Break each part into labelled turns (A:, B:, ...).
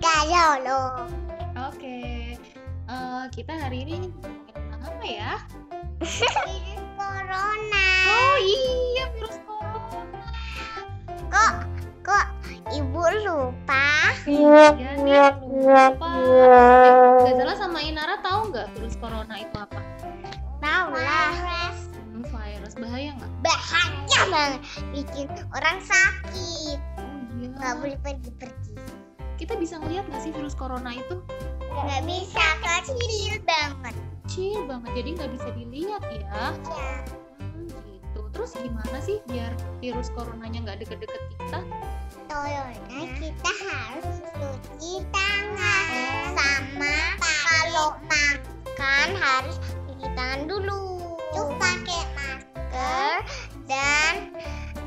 A: Masya Allah.
B: Oke, Eh, kita hari ini ngomongin tentang apa ya?
A: Virus corona.
B: Oh iya, virus corona.
A: Kok kok ibu lupa?
B: Iya nih, lupa. Gazala sama Inara tahu nggak virus corona itu apa?
A: Tahu lah.
B: Hmm, virus bahaya nggak?
A: Bahaya banget bikin orang sakit.
B: Oh
A: Gak
B: iya.
A: boleh pergi-pergi.
B: Kita bisa ngeliat nggak sih virus corona itu
A: Gak bisa kecil banget.
B: kecil banget, jadi nggak bisa dilihat ya.
A: Ya.
B: Hmm, gitu. Terus gimana sih biar virus coronanya nggak deket-deket kita?
A: Toyonya kita harus cuci tangan sama kalau makan harus cuci tangan dulu. Terus pakai masker dan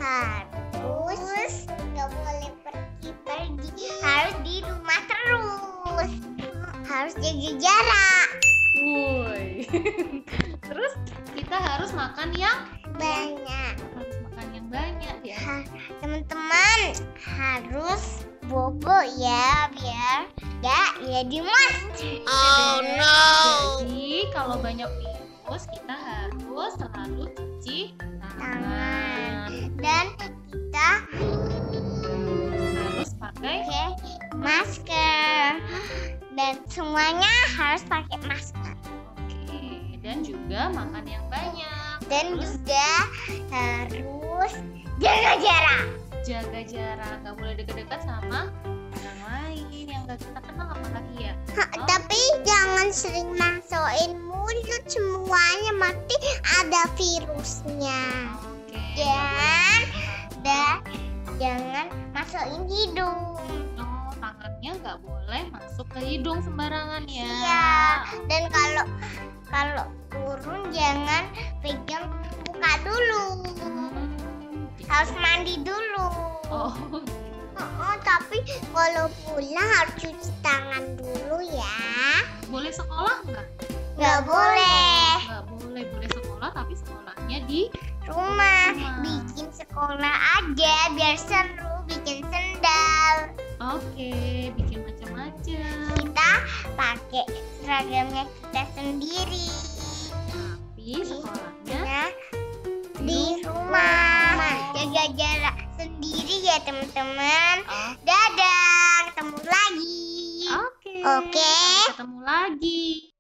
A: harus nggak boleh pergi-pergi. Harus di rumah terus. Harus jaga jarak.
B: Woi. Terus kita harus makan yang
A: Banyak.
B: harus makan yang banyak ya.
A: Ha- Teman-teman harus bobo ya biar ya jadi monster. Oh no.
B: Jadi kalau banyak virus kita harus selalu cuci tangan,
A: Dan kita
B: harus pakai
A: pakai masker dan semuanya harus pakai masker
B: oke dan juga makan yang banyak,
A: dan juga harus jaga jarak.
B: jaga jarak, nggak boleh deket-deket sama orang lain yang nggak kita kenal apalagi ya.
A: Ha, Tapi jangan sering masukin mulut semuanya mati ada virusnya.
B: Oke.
A: Iya. Dan dan jangan masukin hidung.
B: Oh, tangannya nggak boleh masuk ke hidung sembarangan ya.
A: Iya. dan kalau kalau turun jangan pegang buka dulu
B: Hmm, gitu.
A: harus mandi dulu
B: Oh,
A: Oh, tapi kalau pulang harus cuci tangan dulu ya
B: boleh sekolah nggak?
A: nggak boleh
B: Nggak boleh, boleh sekolah tapi sekolahnya di
A: rumah
B: Rumah.
A: bikin sekolah aja biar seru bikin sendal
B: Oke, bikin macam-macam.
A: kita pakai seragamnya kita sendiri
B: Tapi sekolahnya
A: ya di rumah jaga jarak sendiri ya teman-teman
B: Oh,
A: Dadah, ketemu lagi.
B: Oke.
A: Oke.
B: Ketemu lagi.